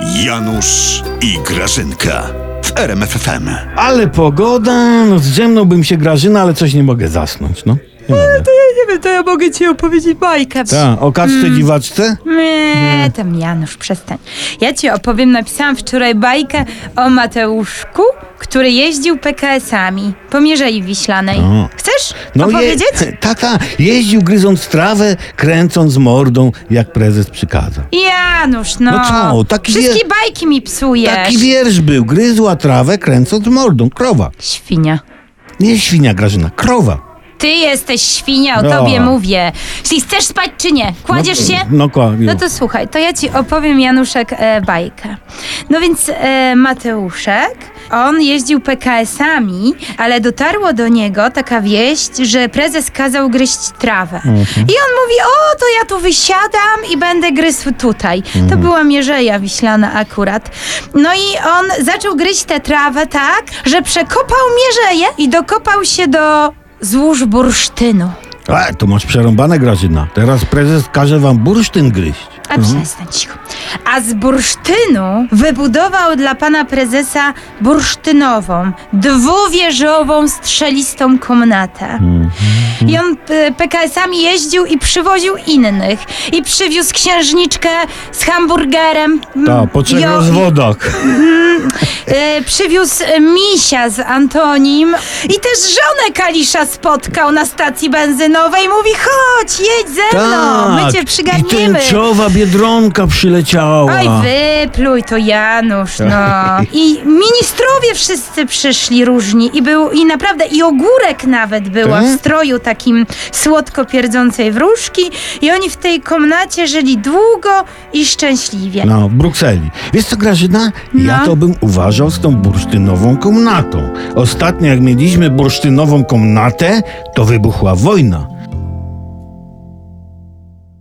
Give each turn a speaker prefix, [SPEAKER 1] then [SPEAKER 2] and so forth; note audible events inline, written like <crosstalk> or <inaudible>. [SPEAKER 1] Janusz i Grażynka w RMFFM.
[SPEAKER 2] Ale pogoda, no zdrzemnąłbym się Grażyna, ale coś nie mogę zasnąć, no. Nie mogę.
[SPEAKER 3] Nie wiem, to ja mogę ci opowiedzieć bajkę.
[SPEAKER 2] Ta, o kaczce
[SPEAKER 3] Mm.
[SPEAKER 2] dziwaczce?
[SPEAKER 3] Nie, tam Janusz, przestań. Ja ci opowiem, napisałam wczoraj bajkę o Mateuszku, który jeździł PKS-ami po Mierzei Wiślanej.
[SPEAKER 2] O.
[SPEAKER 3] Chcesz
[SPEAKER 2] No. je-
[SPEAKER 3] opowiedzieć?
[SPEAKER 2] <laughs> Tata jeździł gryząc trawę, kręcąc mordą, jak prezes przykazał.
[SPEAKER 3] Janusz, no.
[SPEAKER 2] No co, taki
[SPEAKER 3] Wszystkie
[SPEAKER 2] wie-
[SPEAKER 3] bajki mi psujesz.
[SPEAKER 2] Taki wiersz był, gryzła trawę, kręcąc mordą, krowa.
[SPEAKER 3] Świnia.
[SPEAKER 2] Nie świnia Grażyna, krowa.
[SPEAKER 3] Ty jesteś świnia, o
[SPEAKER 2] No.
[SPEAKER 3] tobie mówię. Jeśli chcesz spać czy nie, kładziesz się?
[SPEAKER 2] No, kła-
[SPEAKER 3] No to słuchaj, to ja ci opowiem Januszek e, bajkę. No więc e, Mateuszek, on jeździł PKS-ami, ale dotarło do niego taka wieść, że prezes kazał gryźć trawę. I on mówi, o to ja tu wysiadam i będę gryzł tutaj. To była Mierzeja Wiślana akurat. No i on zaczął gryźć tę trawę tak, że przekopał Mierzeję i dokopał się do złóż bursztynu.
[SPEAKER 2] E, to masz przerąbane Grażyna. Teraz prezes każe wam bursztyn gryźć.
[SPEAKER 3] A przestań cicho. A z bursztynu wybudował dla pana prezesa bursztynową, dwuwieżową, strzelistą komnatę.
[SPEAKER 2] Mhm.
[SPEAKER 3] I on e, PKS-ami jeździł i przywoził innych. I przywiózł księżniczkę z hamburgerem. Mm,
[SPEAKER 2] Ta, Tak, po trzech
[SPEAKER 3] jo-
[SPEAKER 2] rozwodach.
[SPEAKER 3] E, przywiózł e, misia z Antonim i też żonę Kalisza spotkał na stacji benzynowej. Mówi, chodź, jedź ze mną, my cię
[SPEAKER 2] Tak. i
[SPEAKER 3] przygarniemy.
[SPEAKER 2] tęczowa biedronka przyleciała.
[SPEAKER 3] Oj, wypluj to Janusz, no. I ministrowie wszyscy przyszli różni i był, i naprawdę, i ogórek nawet była
[SPEAKER 2] Tak?
[SPEAKER 3] w stroju takim słodko pierdzącej wróżki i oni w tej komnacie żyli długo i szczęśliwie.
[SPEAKER 2] No, w Brukseli. Wiesz co, Grażyna? Ja
[SPEAKER 3] No.
[SPEAKER 2] to bym uważał z tą bursztynową komnatą. Ostatnio, jak mieliśmy bursztynową komnatę, to wybuchła wojna.